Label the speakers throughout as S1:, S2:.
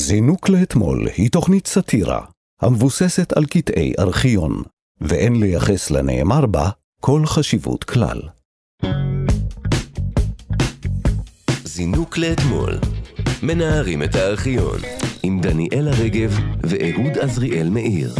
S1: זינוק לאתמול היא תוכנית סאטירה המבוססת על קטעי ארכיון, ואין לייחס לנאמר בה כל חשיבות כלל.
S2: זינוק לאתמול. מנערים את הארכיון. עם דניאלה רגב ואהוד עזריאל מאיר.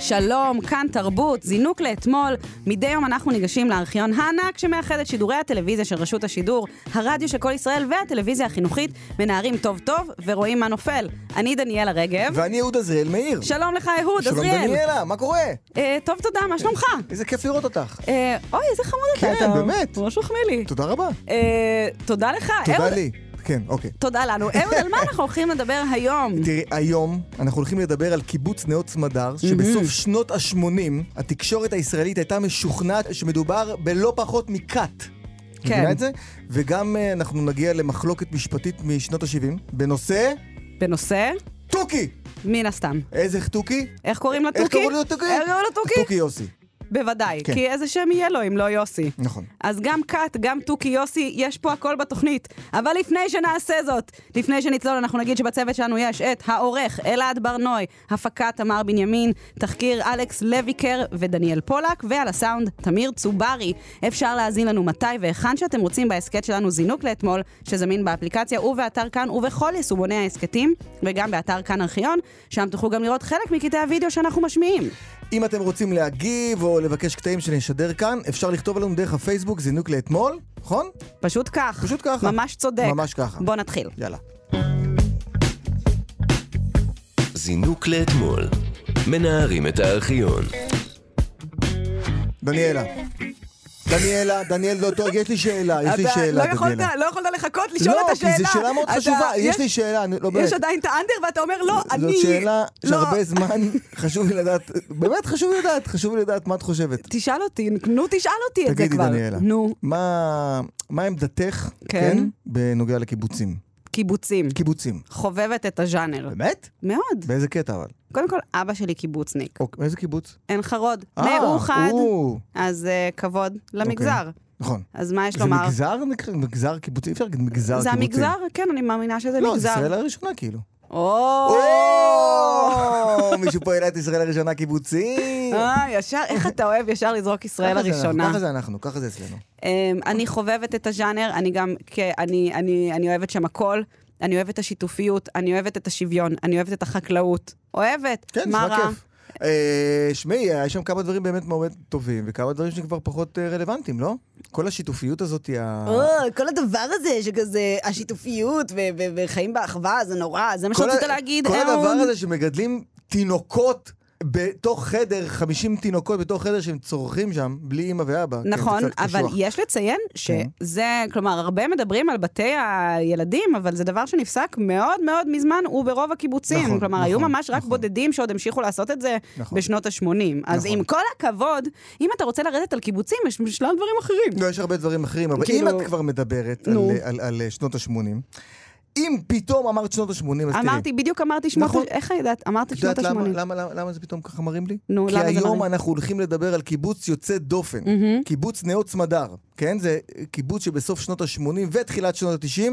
S3: שלום, כאן תרבות, זינוק לאתמול. מדי יום אנחנו ניגשים לארכיון הענק שמאחד את שידורי הטלוויזיה של רשות השידור, הרדיו של כל ישראל והטלוויזיה החינוכית, מנערים טוב טוב ורואים מה נופל. אני דניאלה רגב.
S4: ואני אהוד עזריאל מאיר.
S3: שלום לך, אהוד,
S4: שלום
S3: עזריאל.
S4: דניאלה, מה קורה?
S3: אה, טוב, תודה, מה שלומך?
S4: איזה כיף לראות אותך.
S3: אה, אוי, איזה חמוד אתה.
S4: כן,
S3: אתה
S4: באמת.
S3: ממש מחמיא לי.
S4: תודה רבה.
S3: אה, תודה לך,
S4: תודה
S3: אהוד.
S4: לי. כן, אוקיי.
S3: תודה לנו. אהוד, על מה אנחנו הולכים לדבר היום?
S4: תראי, היום אנחנו הולכים לדבר על קיבוץ נאות סמדר, שבסוף שנות ה-80 התקשורת הישראלית הייתה משוכנעת שמדובר בלא פחות מכת.
S3: כן.
S4: מבינה את זה? וגם אה, אנחנו נגיע למחלוקת משפטית משנות ה-70 בנושא
S3: בנושא,
S4: תוכי!
S3: מן הסתם.
S4: איזה תוכי?
S3: איך קוראים אה, לא, לתוכי?
S4: איך קראו לו תוכי?
S3: איך קראו לו תוכי?
S4: תוכי יוסי.
S3: בוודאי,
S4: כן.
S3: כי איזה שם יהיה לו אם לא יוסי.
S4: נכון.
S3: אז גם כת, גם תוכי יוסי, יש פה הכל בתוכנית. אבל לפני שנעשה זאת, לפני שנצלול, אנחנו נגיד שבצוות שלנו יש את העורך אלעד ברנוי, הפקה תמר בנימין, תחקיר אלכס לויקר ודניאל פולק, ועל הסאונד תמיר צוברי. אפשר להאזין לנו מתי והיכן שאתם רוצים בהסכת שלנו זינוק לאתמול, שזמין באפליקציה ובאתר כאן ובכל יישומוני ההסכתים, וגם באתר כאן ארכיון, שם תוכלו גם לראות חלק מקטעי הוידאו שאנחנו משמיעים.
S4: אם אתם רוצים להגיב או לבקש קטעים שנשדר כאן, אפשר לכתוב עלינו דרך הפייסבוק זינוק לאתמול, נכון?
S3: פשוט כך.
S4: פשוט ככה.
S3: ממש צודק.
S4: ממש ככה.
S3: בוא נתחיל.
S4: יאללה.
S2: זינוק לאתמול. מנערים את הארכיון.
S4: דניאלה. דניאלה, דניאל לא טוב, יש לי שאלה, יש לי
S3: אתה
S4: שאלה,
S3: לא יכולת,
S4: דניאלה.
S3: לא יכולת לחכות לשאול את השאלה.
S4: לא, כי זו שאלה מאוד
S3: אתה-
S4: חשובה, יש
S3: יש-
S4: לי שאלה, אני- לא באמת.
S3: יש עדיין את האנדר ואתה אומר לא, אני...
S4: זאת שאלה
S3: לא."
S4: שהרבה זמן חשוב לי לדעת, באמת חשוב לי לדעת, חשוב לי לדעת מה את חושבת.
S3: תשאל אותי, נו תשאל אותי את זה
S4: תגידי,
S3: כבר.
S4: דניאלה.
S3: נו,
S4: מה מה עמדתך,
S3: כן.
S4: כן, בנוגע לקיבוצים?
S3: קיבוצים.
S4: קיבוצים.
S3: חובבת את הז'אנר.
S4: באמת?
S3: מאוד.
S4: באיזה קטע אבל?
S3: קודם כל, אבא שלי קיבוצניק.
S4: אוקיי, מאיזה קיבוץ?
S3: עין חרוד.
S4: אה,
S3: מאוחד.
S4: או,
S3: אז אה, כבוד למגזר.
S4: נכון.
S3: אז מה יש
S4: זה
S3: לומר?
S4: מגזר נקרא? מגזר קיבוצי? אי אפשר להגיד מגזר קיבוצי.
S3: זה המגזר? כן, אני מאמינה שזה
S4: לא, זה
S3: מגזר.
S4: ישראל הראשונה כאילו.
S3: או!
S4: או, מישהו פה העלה את ישראל הראשונה קיבוצי.
S3: אה, ישר, איך אתה אוהב ישר לזרוק ישראל
S4: ככה זה אנחנו,
S3: הראשונה.
S4: ככה זה אנחנו, ככה זה אצלנו.
S3: אמ, אני חובבת את הז'אנר, אני גם, כ- אני, אני, אני אוהבת שם הכל. אני אוהבת את השיתופיות, אני אוהבת את השוויון, אני אוהבת את החקלאות. אוהבת.
S4: כן,
S3: מה
S4: נשמע
S3: רע?
S4: כיף. אה, שמעי, היה שם כמה דברים באמת מאוד טובים, וכמה דברים שכבר פחות אה, רלוונטיים, לא? כל השיתופיות הזאת, היא ה-
S3: או, כל הדבר הזה שכזה, השיתופיות ו- ו- וחיים באחווה, זה נורא, זה מה
S4: כל ה-
S3: שרצית להגיד,
S4: כל הדבר
S3: אהוד?
S4: הזה שמגדלים תינוקות בתוך חדר, 50 תינוקות בתוך חדר שהם צורכים שם, בלי אימא ואבא. כן, זה
S3: נכון,
S4: קצת
S3: אבל
S4: קשוח. כן.
S3: יש לציין שזה, כלומר, הרבה מדברים על בתי הילדים, אבל זה דבר שנפסק מאוד מאוד מזמן, וברוב הקיבוצים.
S4: נכון,
S3: כלומר, היו
S4: נכון,
S3: ממש רק
S4: נכון.
S3: בודדים שעוד המשיכו לעשות את זה
S4: נכון.
S3: בשנות ה-80. אז
S4: נכון.
S3: עם כל הכבוד, אם אתה רוצה לרדת על קיבוצים, יש שלל דברים אחרים.
S4: לא, יש הרבה דברים אחרים, אבל
S3: כאילו-
S4: אם את כבר מדברת על,
S3: נו.
S4: על, על, אה, שנות ה-80, אם פתאום אמרת שנות ה-80, אז תראי.
S3: אמרתי, בדיוק אמרתי שמות,
S4: נכון.
S3: איך ידעת? אמרתי
S4: את
S3: שנות
S4: יודעת למה,
S3: ה-80.
S4: למה, למה, למה זה פתאום ככה מרים לי?
S3: נו,
S4: כי
S3: למה זה מרים?
S4: היום אנחנו הולכים לדבר על קיבוץ יוצא דופן,
S3: מהמם.
S4: קיבוץ נאות סמדר, כן? זה קיבוץ שבסוף שנות ה-80 ותחילת שנות ה-90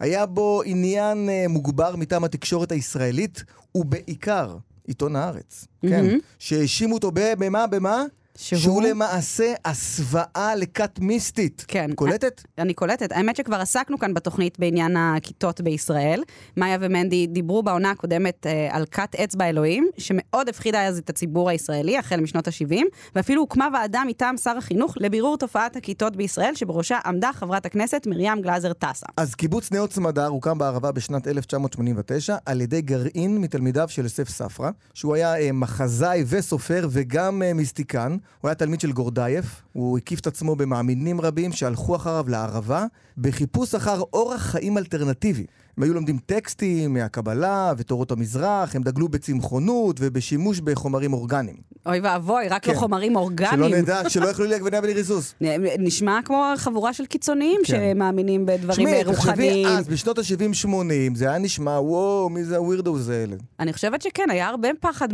S4: היה בו עניין אה, מוגבר מטעם התקשורת הישראלית, ובעיקר עיתון הארץ, כן?
S3: מהמם.
S4: שהאשימו אותו ב- במה? במה? שהוא למעשה הסוואה לכת מיסטית.
S3: כן.
S4: קולטת?
S3: אני קולטת. האמת שכבר עסקנו כאן בתוכנית בעניין הכיתות בישראל. מאיה ומנדי דיברו בעונה הקודמת אה, על כת אצבע אלוהים, שמאוד הפחידה אז את הציבור הישראלי, החל משנות ה-70, ואפילו הוקמה ועדה מטעם שר החינוך לבירור תופעת הכיתות בישראל, שבראשה עמדה חברת הכנסת מרים גלאזר טסה.
S4: אז קיבוץ נאות סמדר הוקם בערבה בשנת 1989 על ידי גרעין מתלמידיו של יוסף ספרא, שהוא היה אה, מחזאי וסופר וגם אה, מיסטיקן. הוא היה תלמיד של גורדייף, הוא הקיף את עצמו במאמינים רבים שהלכו אחריו לערבה בחיפוש אחר אורח חיים אלטרנטיבי. הם היו לומדים טקסטים מהקבלה ותורות המזרח, הם דגלו בצמחונות ובשימוש בחומרים אורגניים.
S3: אוי ואבוי, רק לא
S4: כן.
S3: חומרים
S4: שלא
S3: אורגניים.
S4: נדע, שלא יאכלו לי עגבניה בלי ריסוס.
S3: נ- נשמע כמו חבורה של קיצוניים
S4: כן.
S3: שמאמינים בדברים
S4: תשמעי,
S3: רוחניים.
S4: תחשבי אז, בשנות ה-70-80, זה היה נשמע, וואו, מי זה הווירדוס האלה?
S3: אני חושבת שכן, היה הרבה פחד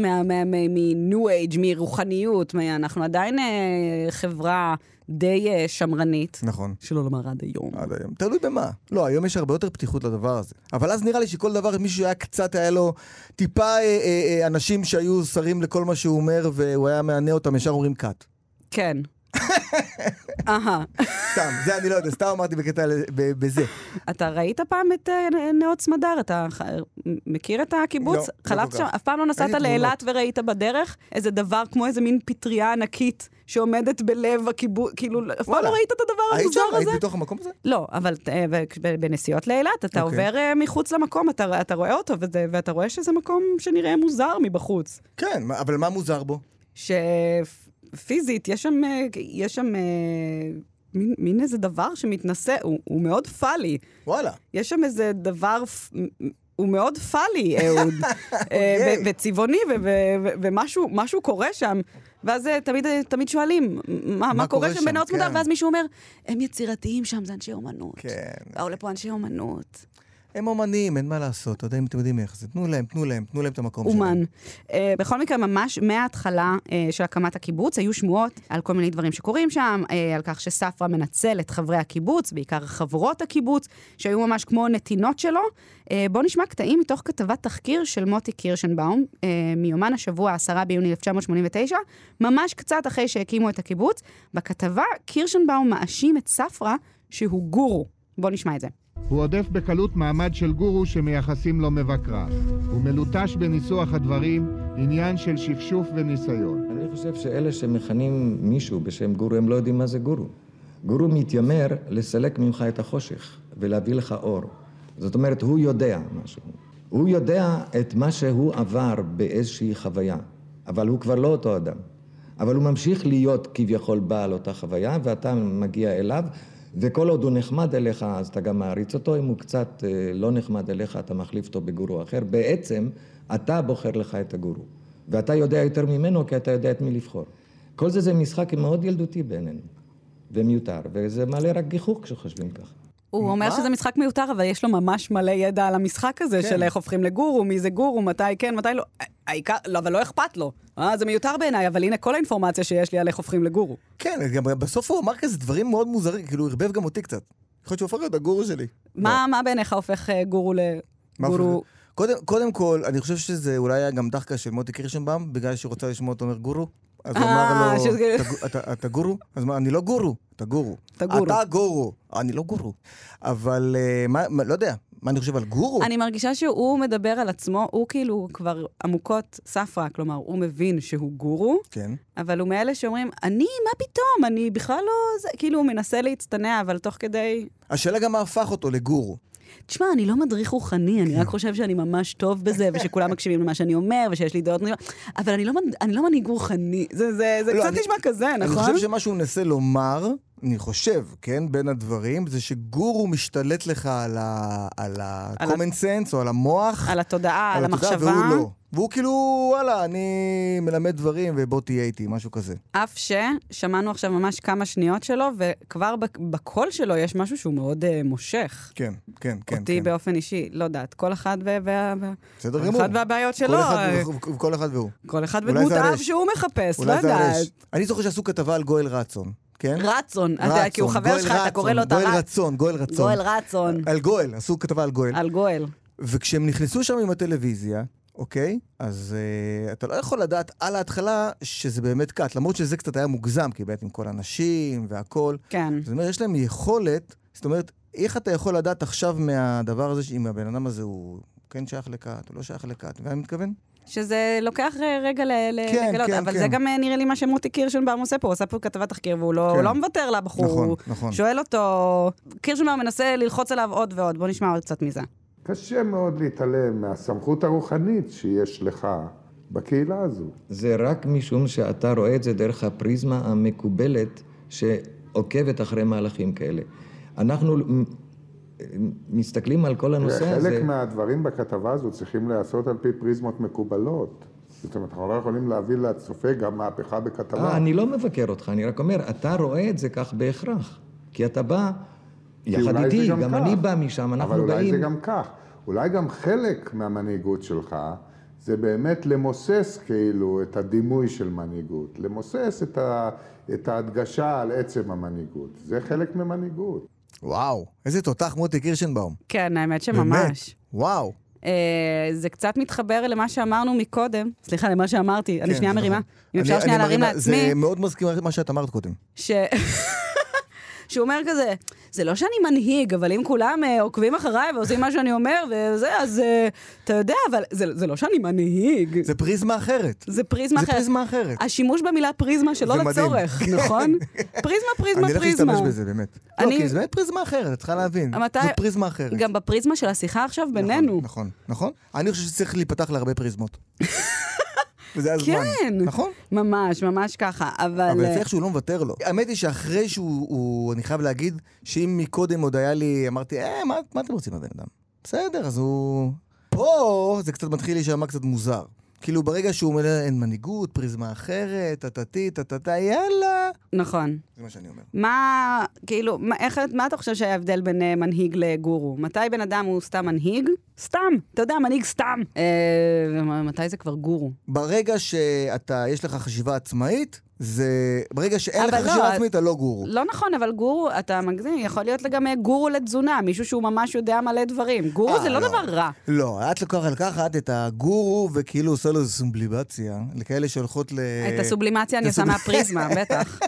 S3: מניו אייג', מרוחניות, מה- אנחנו עדיין אה, חברה די אה, שמרנית,
S4: נכון.
S3: שלא לומר עד היום.
S4: עד היום. תלוי במה. לא, היום יש הרבה יותר פתיחות לדבר הזה. אבל אז נראה לי שכל דבר, מישהו שהיה קצת, היה לו טיפה אה, אה, אה, אנשים שהיו שרים לכל מה שהוא אומר, והוא היה מענה אותם, ישר אומרים קאט.
S3: כן. אהה.
S4: סתם, זה אני לא יודע, סתם אמרתי בקטע ל- ב- בזה.
S3: אתה ראית פעם את אה, נאות סמדר? אתה ח- מכיר את
S4: לא,
S3: הקיבוץ?
S4: לא
S3: חלפת
S4: כל
S3: שם?
S4: כך.
S3: אף פעם לא נסעת
S4: ראיתי תמונות.
S3: לאילת וראית בדרך איזה דבר כמו איזה מין פטריה ענקית שעומדת בלב הקיבוץ? כאילו, אף פעם לא
S4: וואלה.
S3: ראית את הדבר
S4: היית שם?
S3: המוזר
S4: היית
S3: הזה?
S4: בתוך המקום הזה?
S3: לא, אבל אה, ב- ב- בנסיעות לאילת, אתה
S4: אוקיי.
S3: עובר אה, מחוץ למקום, אתה אתה רואה אותו, וזה- ואתה רואה שזה מקום שנראה מוזר מבחוץ.
S4: כן, מה- אבל מה מוזר בו?
S3: שפיזית, יש שם, אה, יש שם אה, מין, מין איזה דבר שמתנשא, הוא, הוא מאוד פאלי.
S4: וואלה.
S3: יש שם איזה דבר, פ- הוא מאוד פאלי, אהוד, אה, ו-
S4: אוקיי.
S3: וצבעוני, ו- ו- ו- ומשהו משהו קורה שם. ואז אה, תמיד, תמיד שואלים, מה, מה, קורה שם בנאות מודע?
S4: כן.
S3: ואז מישהו אומר, הם יצירתיים שם, זה אנשי אומנות.
S4: כן.
S3: באו לפה אנשי אומנות.
S4: הם אומנים, אין מה לעשות, אתה יודע אם אתם יודעים איך זה. תנו להם, תנו להם, תנו להם את המקום שלהם.
S3: אומן. Uh, בכל מקרה, ממש מההתחלה uh, של הקמת הקיבוץ, היו שמועות על כל מיני דברים שקורים שם, uh, על כך שספרא מנצל את חברי הקיבוץ, בעיקר חברות הקיבוץ, שהיו ממש כמו נתינות שלו. Uh, בואו נשמע קטעים מתוך כתבת תחקיר של מוטי קירשנבאום, uh, מיומן השבוע, 10 ביוני 1989, ממש קצת אחרי שהקימו את הקיבוץ. בכתבה, קירשנבאום מאשים את ספרא שהוא גורו. בואו נשמע את זה.
S5: הוא עודף בקלות מעמד של גורו שמייחסים לו מבקריו. הוא מלוטש בניסוח הדברים, עניין של שפשוף וניסיון.
S6: אני חושב שאלה שמכנים מישהו בשם גורו, הם לא יודעים מה זה גורו. גורו מתיימר לסלק ממך את החושך ולהביא לך אור. זאת אומרת, הוא יודע משהו. הוא יודע את מה שהוא עבר באיזושהי חוויה, אבל הוא כבר לא אותו אדם. אבל הוא ממשיך להיות כביכול בעל אותה חוויה, ואתה מגיע אליו, וכל עוד הוא נחמד אליך, אז אתה גם מעריץ אותו. אם הוא קצת אה, לא נחמד אליך, אתה מחליף אותו בגורו אחר. בעצם, אתה בוחר לך את הגורו. ואתה יודע יותר ממנו, כי אתה יודע את מי לבחור. כל זה זה משחק מאוד ילדותי בעינינו, ומיותר, וזה מעלה רק גיחוך כשחושבים ככה.
S3: הוא אומר
S4: מה?
S3: שזה משחק מיותר, אבל יש לו ממש מלא ידע על המשחק הזה,
S4: כן.
S3: של איך הופכים לגורו, מי זה גורו, מתי כן, מתי לא. העיקר, לא, אבל לא אכפת לו. אה, זה מיותר בעיניי, אבל הנה כל האינפורמציה שיש לי על איך הופכים לגורו.
S4: כן, גם בסוף הוא אמר כזה דברים מאוד מוזרים, כאילו, הוא ערבב גם אותי קצת. יכול להיות שהוא הפך להיות הגורו שלי.
S3: מה מה בעיניך הופך אה, גורו
S4: לא. מה הוא
S3: לגורו?
S4: חושב? קודם, קודם כל, אני חושב שזה אולי היה גם דחקה של מוטי קירשנבאום, בגלל שהיא רוצה לשמוע אותו אומר גורו. אז הוא
S3: אה,
S4: אמר לו,
S3: שזה-
S4: "אתה גו- אתה- אתה גורו? אז מה, אני לא גורו, אתה גורו.
S3: אתה גורו.
S4: אתה גורו. אני לא גורו. אבל אה, מה, מה- לא יודע, מה אני חושב על גורו?
S3: אני מרגישה שהוא מדבר על עצמו, הוא כאילו כבר עמוקות ספרא, כלומר, הוא מבין שהוא גורו,
S4: כן.
S3: אבל הוא מאלה שאומרים, אני, מה פתאום, אני בכלל לא... זה", כאילו, הוא מנסה להצטנע, אבל תוך כדי...
S4: השאלה גם מה הפך אותו לגורו.
S3: תשמע, אני לא מדריך רוחני,
S4: כן.
S3: אני רק חושב שאני ממש טוב בזה, ושכולם מקשיבים למה שאני אומר, ושיש לי דעות נראות, אבל אני לא, מנ- אני לא מנהיג רוחני. זה, זה, זה
S4: לא,
S3: קצת
S4: אני-
S3: נשמע כזה,
S4: אני
S3: נכון?
S4: חושב שמה שהוא מנסה לומר, אני חושב, כן, בין הדברים, זה שגורו משתלט לך על ה- על
S3: על ה-
S4: ה-common sense או על המוח.
S3: על התודעה, על
S4: התודעה,
S3: המחשבה.
S4: והוא לא. והוא כאילו, וואלה, אני מלמד דברים ובוא תהיה איתי, משהו כזה.
S3: אף ששמענו עכשיו ממש כמה שניות שלו, וכבר בק- בקול שלו יש משהו שהוא מאוד אה, מושך.
S4: כן, כן, כן.
S3: אותי
S4: כן.
S3: באופן אישי, לא יודעת, כל אחד ו... וה- וה-
S4: בסדר
S3: כל
S4: גמור.
S3: אחד והבעיות שלו.
S4: כל אחד,
S3: אה,
S4: והוא- כל אחד והוא.
S3: כל אחד
S4: אולי
S3: בדמות
S4: זה
S3: אב
S4: הרש.
S3: שהוא מחפש, לא
S4: אולי זה
S3: יודעת.
S4: הרש. אני זוכר שעשו כתבה על גואל רצון, כן?
S3: רצון, אתה יודע, כי הוא
S4: רצון,
S3: חבר
S4: גואל
S3: שלך, אתה
S4: רצון,
S3: קורא לו את
S4: גואל
S3: הרצון.
S4: רצון, גואל רצון.
S3: גואל רצון.
S4: על גואל, עשו כתבה על גואל.
S3: על גואל.
S4: וכשהם נכנסו שם עם הטלוויזיה, אוקיי? אז uh, אתה לא יכול לדעת על ההתחלה שזה באמת קאט, למרות שזה קצת היה מוגזם, כי באמת עם כל הנשים והכל.
S3: כן.
S4: זאת אומרת, יש להם יכולת, זאת אומרת, איך אתה יכול לדעת עכשיו מהדבר הזה, אם הבן אדם הזה הוא כן שייך לכת, הוא לא שייך לכת, אתה מבין מה אני מתכוון?
S3: שזה לוקח אה, רגע ל- ל-
S4: כן,
S3: לגלות,
S4: כן,
S3: אבל
S4: כן.
S3: זה גם אה, נראה לי מה שמוטי קירשנבאום עושה פה, הוא עשה פה כתבת תחקיר והוא לא,
S4: כן.
S3: הוא לא מוותר לבחור,
S4: נכון,
S3: הוא
S4: נכון.
S3: שואל אותו, קירשנבאום מנסה ללחוץ עליו עוד ועוד, בוא נשמע עוד קצת מזה.
S7: קשה מאוד להתעלם מהסמכות הרוחנית שיש לך בקהילה הזו.
S6: זה רק משום שאתה רואה את זה דרך הפריזמה המקובלת שעוקבת אחרי מהלכים כאלה. אנחנו מ- מסתכלים על כל הנושא הזה...
S7: חלק מהדברים בכתבה הזו צריכים להיעשות על פי פריזמות מקובלות. זאת אומרת, אנחנו לא יכולים להביא לצופה גם מהפכה בכתבה.
S6: אה, אני לא מבקר אותך, אני רק אומר, אתה רואה את זה כך בהכרח. כי אתה בא
S7: כי
S6: יחד
S7: אולי זה
S6: איתי, גם
S7: כך.
S6: אני בא משם, אנחנו
S7: אבל אולי
S6: באים...
S7: זה גם כך. אולי גם חלק מהמנהיגות שלך זה באמת למוסס כאילו את הדימוי של מנהיגות, למוסס את, ה, את ההדגשה על עצם המנהיגות. זה חלק ממנהיגות.
S4: וואו, איזה תותח מוטי קירשנbaum.
S3: כן, האמת
S4: באמת.
S3: שממש.
S4: וואו.
S3: אה, זה קצת מתחבר למה שאמרנו מקודם, סליחה, למה שאמרתי, אני
S4: כן,
S3: שנייה
S4: זה
S3: מרימה.
S4: נכון.
S3: אם אפשר
S4: אני-
S3: שנייה
S4: אני
S3: להרים
S4: מרימה,
S3: לעצמי,
S4: זה מאוד מזכיר מה שאת אמרת קודם.
S3: ש... שהוא אומר כזה, זה לא שאני מנהיג, אבל אם כולם אה, עוקבים אחריי ועושים מה שאני אומר וזה, אז אה, אתה יודע, אבל זה, זה לא שאני מנהיג.
S4: זה פריזמה אחרת.
S3: זה פריזמה
S4: זה
S3: אחרת.
S4: פריזמה אחרת.
S3: השימוש במילה פריזמה שלא
S4: זה מדהים.
S3: לצורך,
S4: כן.
S3: נכון? פריזמה, פריזמה,
S4: אני הולך
S3: פריזמה.
S4: להשתמש בזה, באמת.
S3: אני-
S4: לא, כי זה באמת פריזמה אחרת, את צריכה להבין.
S3: מתי-
S4: זו פריזמה אחרת.
S3: גם בפריזמה של השיחה עכשיו
S4: נכון,
S3: בינינו.
S4: נכון, נכון. אני חושב שצריך להיפתח להרבה פריזמות. וזה הזמן.
S3: כן.
S4: נכון?
S3: ממש, ממש ככה, אבל...
S4: אבל
S3: אה,
S4: לפי איך שהוא לא מוותר לו. האמת היא שאחרי שהוא, הוא- אני חייב להגיד, שאם מקודם עוד היה לי, אמרתי, אה, מה, מה אתם רוצים מהבן אדם? בסדר, אז הוא... פה זה קצת מתחיל להישמע קצת מוזר. כאילו, ברגע שהוא אומר, אין מנהיגות, פריזמה אחרת, טה-טה-טה, טה-טה, יאללה.
S3: נכון.
S4: זה מה שאני אומר.
S3: מה, כאילו, מה, איך, מה אתה חושב שההבדל בין אה, מנהיג לגורו? מתי בן אדם הוא סתם מנהיג? סתם, אתה יודע, מנהיג סתם. אה, ומתי זה כבר גורו?
S4: ברגע שאתה, יש לך חשיבה עצמאית, זה... ברגע שאין לך
S3: אבל לא,
S4: חשיבה
S3: את-
S4: עצמאית, אתה לא גורו.
S3: לא נכון, אבל גורו, אתה מגזים, יכול להיות גם אה, גורו לתזונה, מישהו שהוא ממש יודע מלא דברים. גורו
S4: אה,
S3: זה לא,
S4: לא.
S3: דבר רע.
S4: לא, את לוקחת לקחת את הגורו וכאילו עושה לו סובלימציה, לכאלה שהולכות ל...
S3: אה, את הסובלימציה אני
S4: את
S3: עושה
S4: הסוב-
S3: מהפריזמה, בטח.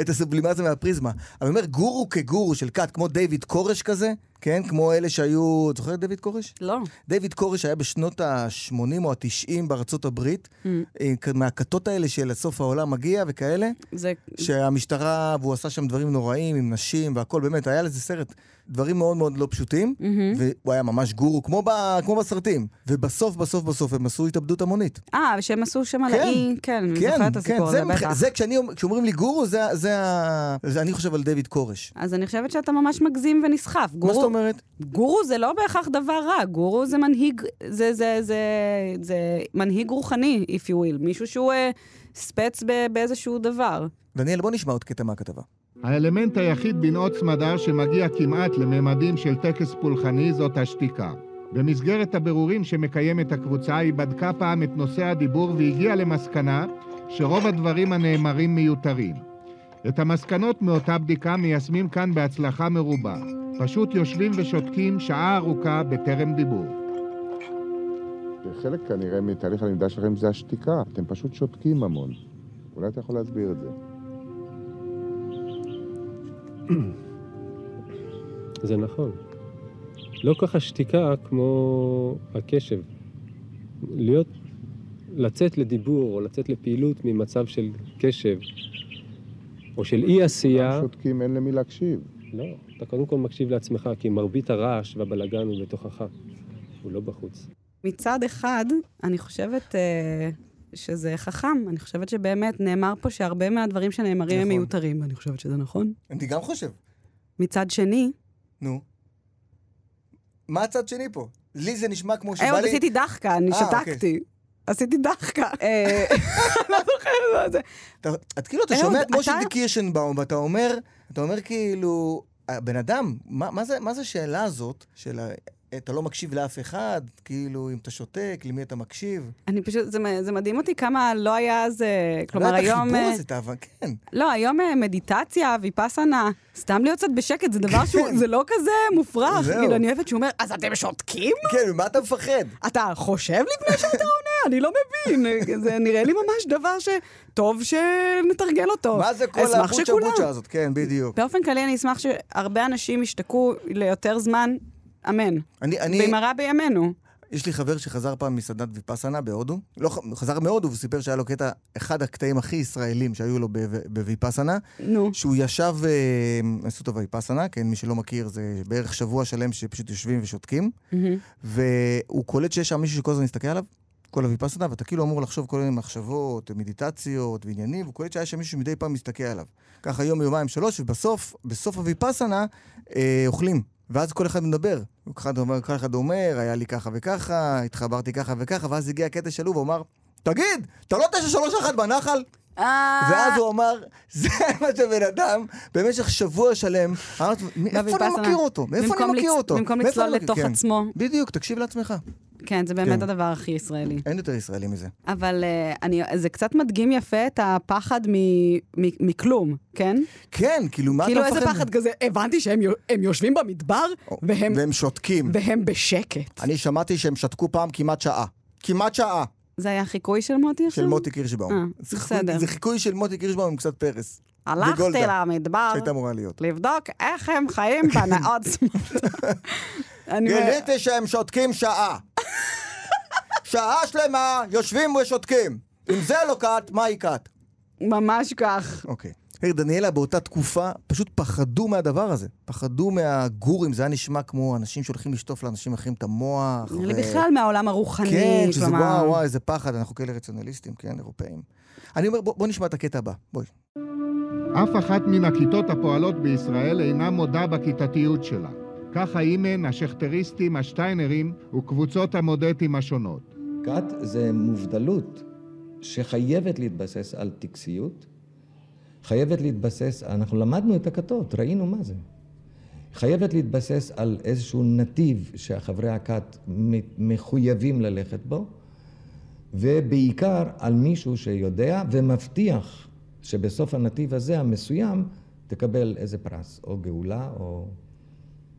S4: את הסובלימציה מהפריזמה. אבל אני אומר, גורו כגורו של כת, כמו דיוויד כורש כזה, כן? כמו אלה שהיו... את זוכרת את דיוויד כורש?
S3: לא.
S4: דיוויד כורש היה בשנות ה-80 או ה-90 בארצות הברית,
S3: Mm.
S4: אה, כ- מהכתות האלה של סוף העולם מגיע וכאלה.
S3: זה...
S4: שהמשטרה, והוא עשה שם דברים נוראים עם נשים והכל, באמת, היה לזה סרט, דברים מאוד מאוד לא פשוטים, והוא היה ממש גורו, כמו, ב, כמו בסרטים. ובסוף, בסוף, בסוף הם עשו התאבדות המונית.
S3: אה, שהם עשו שם על
S4: כן,
S3: האי, כן, אני זוכרת את הסיפור הזה,
S4: זה, מבח-
S3: בטח.
S4: זה כשאני, אומר- כשאומרים לי גורו, זה, זה, ה- זה אני חושב על דיוויד כורש.
S3: אז אני חושבת שאתה ממש מגזים ונסחף.
S4: מה זאת
S3: גורו,
S4: אומרת?
S3: גורו זה לא בהכרח דבר רע, גורו זה מנהיג, זה, זה, זה, זה מנהיג רוחני, if you will, מישהו שהוא אה, ספץ ב, באיזשהו דבר.
S4: דניאל, בוא נשמע עוד קטע מהכתבה.
S5: האלמנט היחיד בנאות סמדר שמגיע כמעט לממדים של טקס פולחני זאת השתיקה. במסגרת הבירורים שמקיימת הקבוצה, היא בדקה פעם את נושא הדיבור והגיעה למסקנה שרוב הדברים הנאמרים מיותרים. את המסקנות מאותה בדיקה מיישמים כאן בהצלחה מרובה. פשוט יושבים ושותקים שעה ארוכה בטרם דיבור.
S7: חלק כנראה מתהליך הלמידה שלכם זה השתיקה, אתם פשוט שותקים המון. אולי אתה יכול להסביר את זה.
S8: זה נכון. לא כל כך השתיקה כמו הקשב. להיות, לצאת לדיבור או לצאת לפעילות ממצב של קשב או של אי עשייה,
S5: לא,
S7: שותקים, אין למי להקשיב.
S8: לא, אתה קודם כל מקשיב לעצמך, כי מרבית הרעש והבלגן הוא בתוכך, הוא לא בחוץ.
S3: מצד אחד, אני חושבת אה, שזה חכם, אני חושבת שבאמת נאמר פה שהרבה מהדברים שנאמרים הם
S4: נכון.
S3: מיותרים, ואני חושבת שזה נכון.
S4: אני גם חושב.
S3: מצד שני,
S4: נו. מה הצד שני פה? לי זה נשמע כמו שבא
S3: אה, עוד
S4: לי...
S3: עשיתי דחקה, אני
S4: אה,
S3: שתקתי. עשיתי דחקה. אה, לא זוכרת מה זה.
S4: אתה, את כאילו, אתה
S3: אהוד,
S4: שומע את משה
S3: לא, אתה-
S4: די קירשנבאום, ואתה אומר, אתה אומר כאילו, הבן אדם, מה, מה, זה, מה זה השאלה הזאת של ה- אתה לא מקשיב לאף אחד, כאילו, אם אתה שותק, למי אתה מקשיב?
S3: אני פשוט, זה מ- זה מדהים אותי כמה לא היה אז, אה, כלומר
S4: לא היה את
S3: היום...
S4: החיבור
S3: אה,
S4: הזה, אתה, אבל כן.
S3: לא, היום אה, מדיטציה, ויפאסנה, סתם להיות קצת בשקט, זה דבר שהוא, זה לא כזה מופרך.
S4: כן. זהו.
S3: כאילו, אני אוהבת שהוא אומר, אז אתם שותקים?
S4: כן, ממה אתה מפחד?
S3: אתה חושב לפני שאתה עונה? אני לא מבין. זה נראה לי ממש דבר שטוב שנתרגל אותו.
S4: מה זה כל
S3: אשמח
S4: הבוצ'ה
S3: שכולם-
S4: בוצ'ה הזאת? כן, בדיוק.
S3: באופן כללי, אני אשמח שהרבה אנשים ישתקו ליותר זמן, אמן.
S4: אני, אני,
S3: במהרה בימינו.
S4: יש לי חבר שחזר פעם מסעדת ויפאסנה בהודו. לא, ח- הוא חזר מהודו, והוא סיפר שהיה לו קטע, אחד הקטעים הכי ישראלים שהיו לו בו- בויפאסנה,
S3: נו.
S4: שהוא ישב, אה, עשו אותו ויפאסנה, כן, מי שלא מכיר, זה בערך שבוע שלם שפשוט יושבים ושותקים, והוא קולט שיש שם מישהו שכל הזמן מסתכל עליו, כל הויפאסנה, ואתה כאילו אמור לחשוב כל מיני מחשבות, מדיטציות ועניינים, והוא קולט שהיה שם מישהו שמדי פעם מסתכל עליו. ככה יום, יומיים, שלוש, ובסוף, בסוף הויפאסנה, אה, אוכלים. ואז כל אחד מדבר. אחד אומר, כל אחד אומר, היה לי ככה וככה, התחברתי ככה וככה, ואז הגיע הקטע שלו והוא אמר, תגיד, אתה לא 931 בנחל?
S3: אה.
S4: ואז הוא אמר, זה מה שבן אדם במשך שבוע שלם, אמרתי, מאיפה אני
S3: בוויפאסנה.
S4: מכיר אותו? מאיפה
S3: במקום
S4: אני מכיר
S3: לצ-
S4: אותו?
S3: במקום
S4: מאיפה
S3: לצלול
S4: אני מכיר-"
S3: לתוך
S4: כן.
S3: עצמו.
S4: בדיוק, תקשיב לעצמך.
S3: כן, זה באמת
S4: כן.
S3: הדבר הכי ישראלי.
S4: אין יותר ישראלי מזה.
S3: אבל אה, אני, זה קצת מדגים יפה את הפחד מ, מ, מכלום, כן?
S4: כן, כאילו, מה
S3: כאילו
S4: אתה
S3: איזה
S4: מפחד?
S3: פחד כזה, הבנתי שהם יו- הם יושבים במדבר, והם,
S4: והם שותקים.
S3: והם בשקט.
S4: אני שמעתי שהם שתקו פעם כמעט שעה. כמעט שעה
S3: זה היה חיקוי של מוטי עכשיו?
S4: של מוטי קירשבאום.
S3: אה,
S4: זה
S3: בסדר. אה.
S4: חיקוי- זה חיקוי של מוטי קירשבאום עם קצת פרס.
S3: הלכתי
S4: וגולדה,
S3: למדבר
S4: שהייתה אמורה להיות.
S3: לבדוק איך הם חיים בנאות שמאלת. אני אומרת,
S4: גיליתי שהם שותקים שעה. שעה שלמה יושבים ושותקים. אם זה לא קאט, מה היא קאט?
S3: ממש כך.
S4: אוקיי. תראי, דניאלה, באותה תקופה פשוט פחדו מהדבר הזה. פחדו מהגורים, זה היה נשמע כמו אנשים שהולכים לשטוף לאנשים אחרים את המוח.
S3: נראה לי
S4: ו-
S3: בכלל מהעולם הרוחני,
S4: כן, שזה
S3: כלומר.
S4: וואו, וואו, איזה פחד, אנחנו כאלה רציונליסטים, כן, אירופאים. אני אומר, בוא, בוא נשמע את הקטע הבא, בואי.
S5: אף אחת מן הכיתות הפועלות בישראל אינה מודה בכיתתיות שלה. כך האימן, השכטריסטים, השטיינרים וקבוצות המודטים השונות.
S6: כת זה מובדלות שחייבת להתבסס על טקסיות, חייבת להתבסס, אנחנו למדנו את הכתות, ראינו מה זה. חייבת להתבסס על איזשהו נתיב שחברי הכת מ- מחויבים ללכת בו, ובעיקר על מישהו שיודע ומבטיח שבסוף הנתיב הזה המסוים תקבל איזה פרס, או גאולה או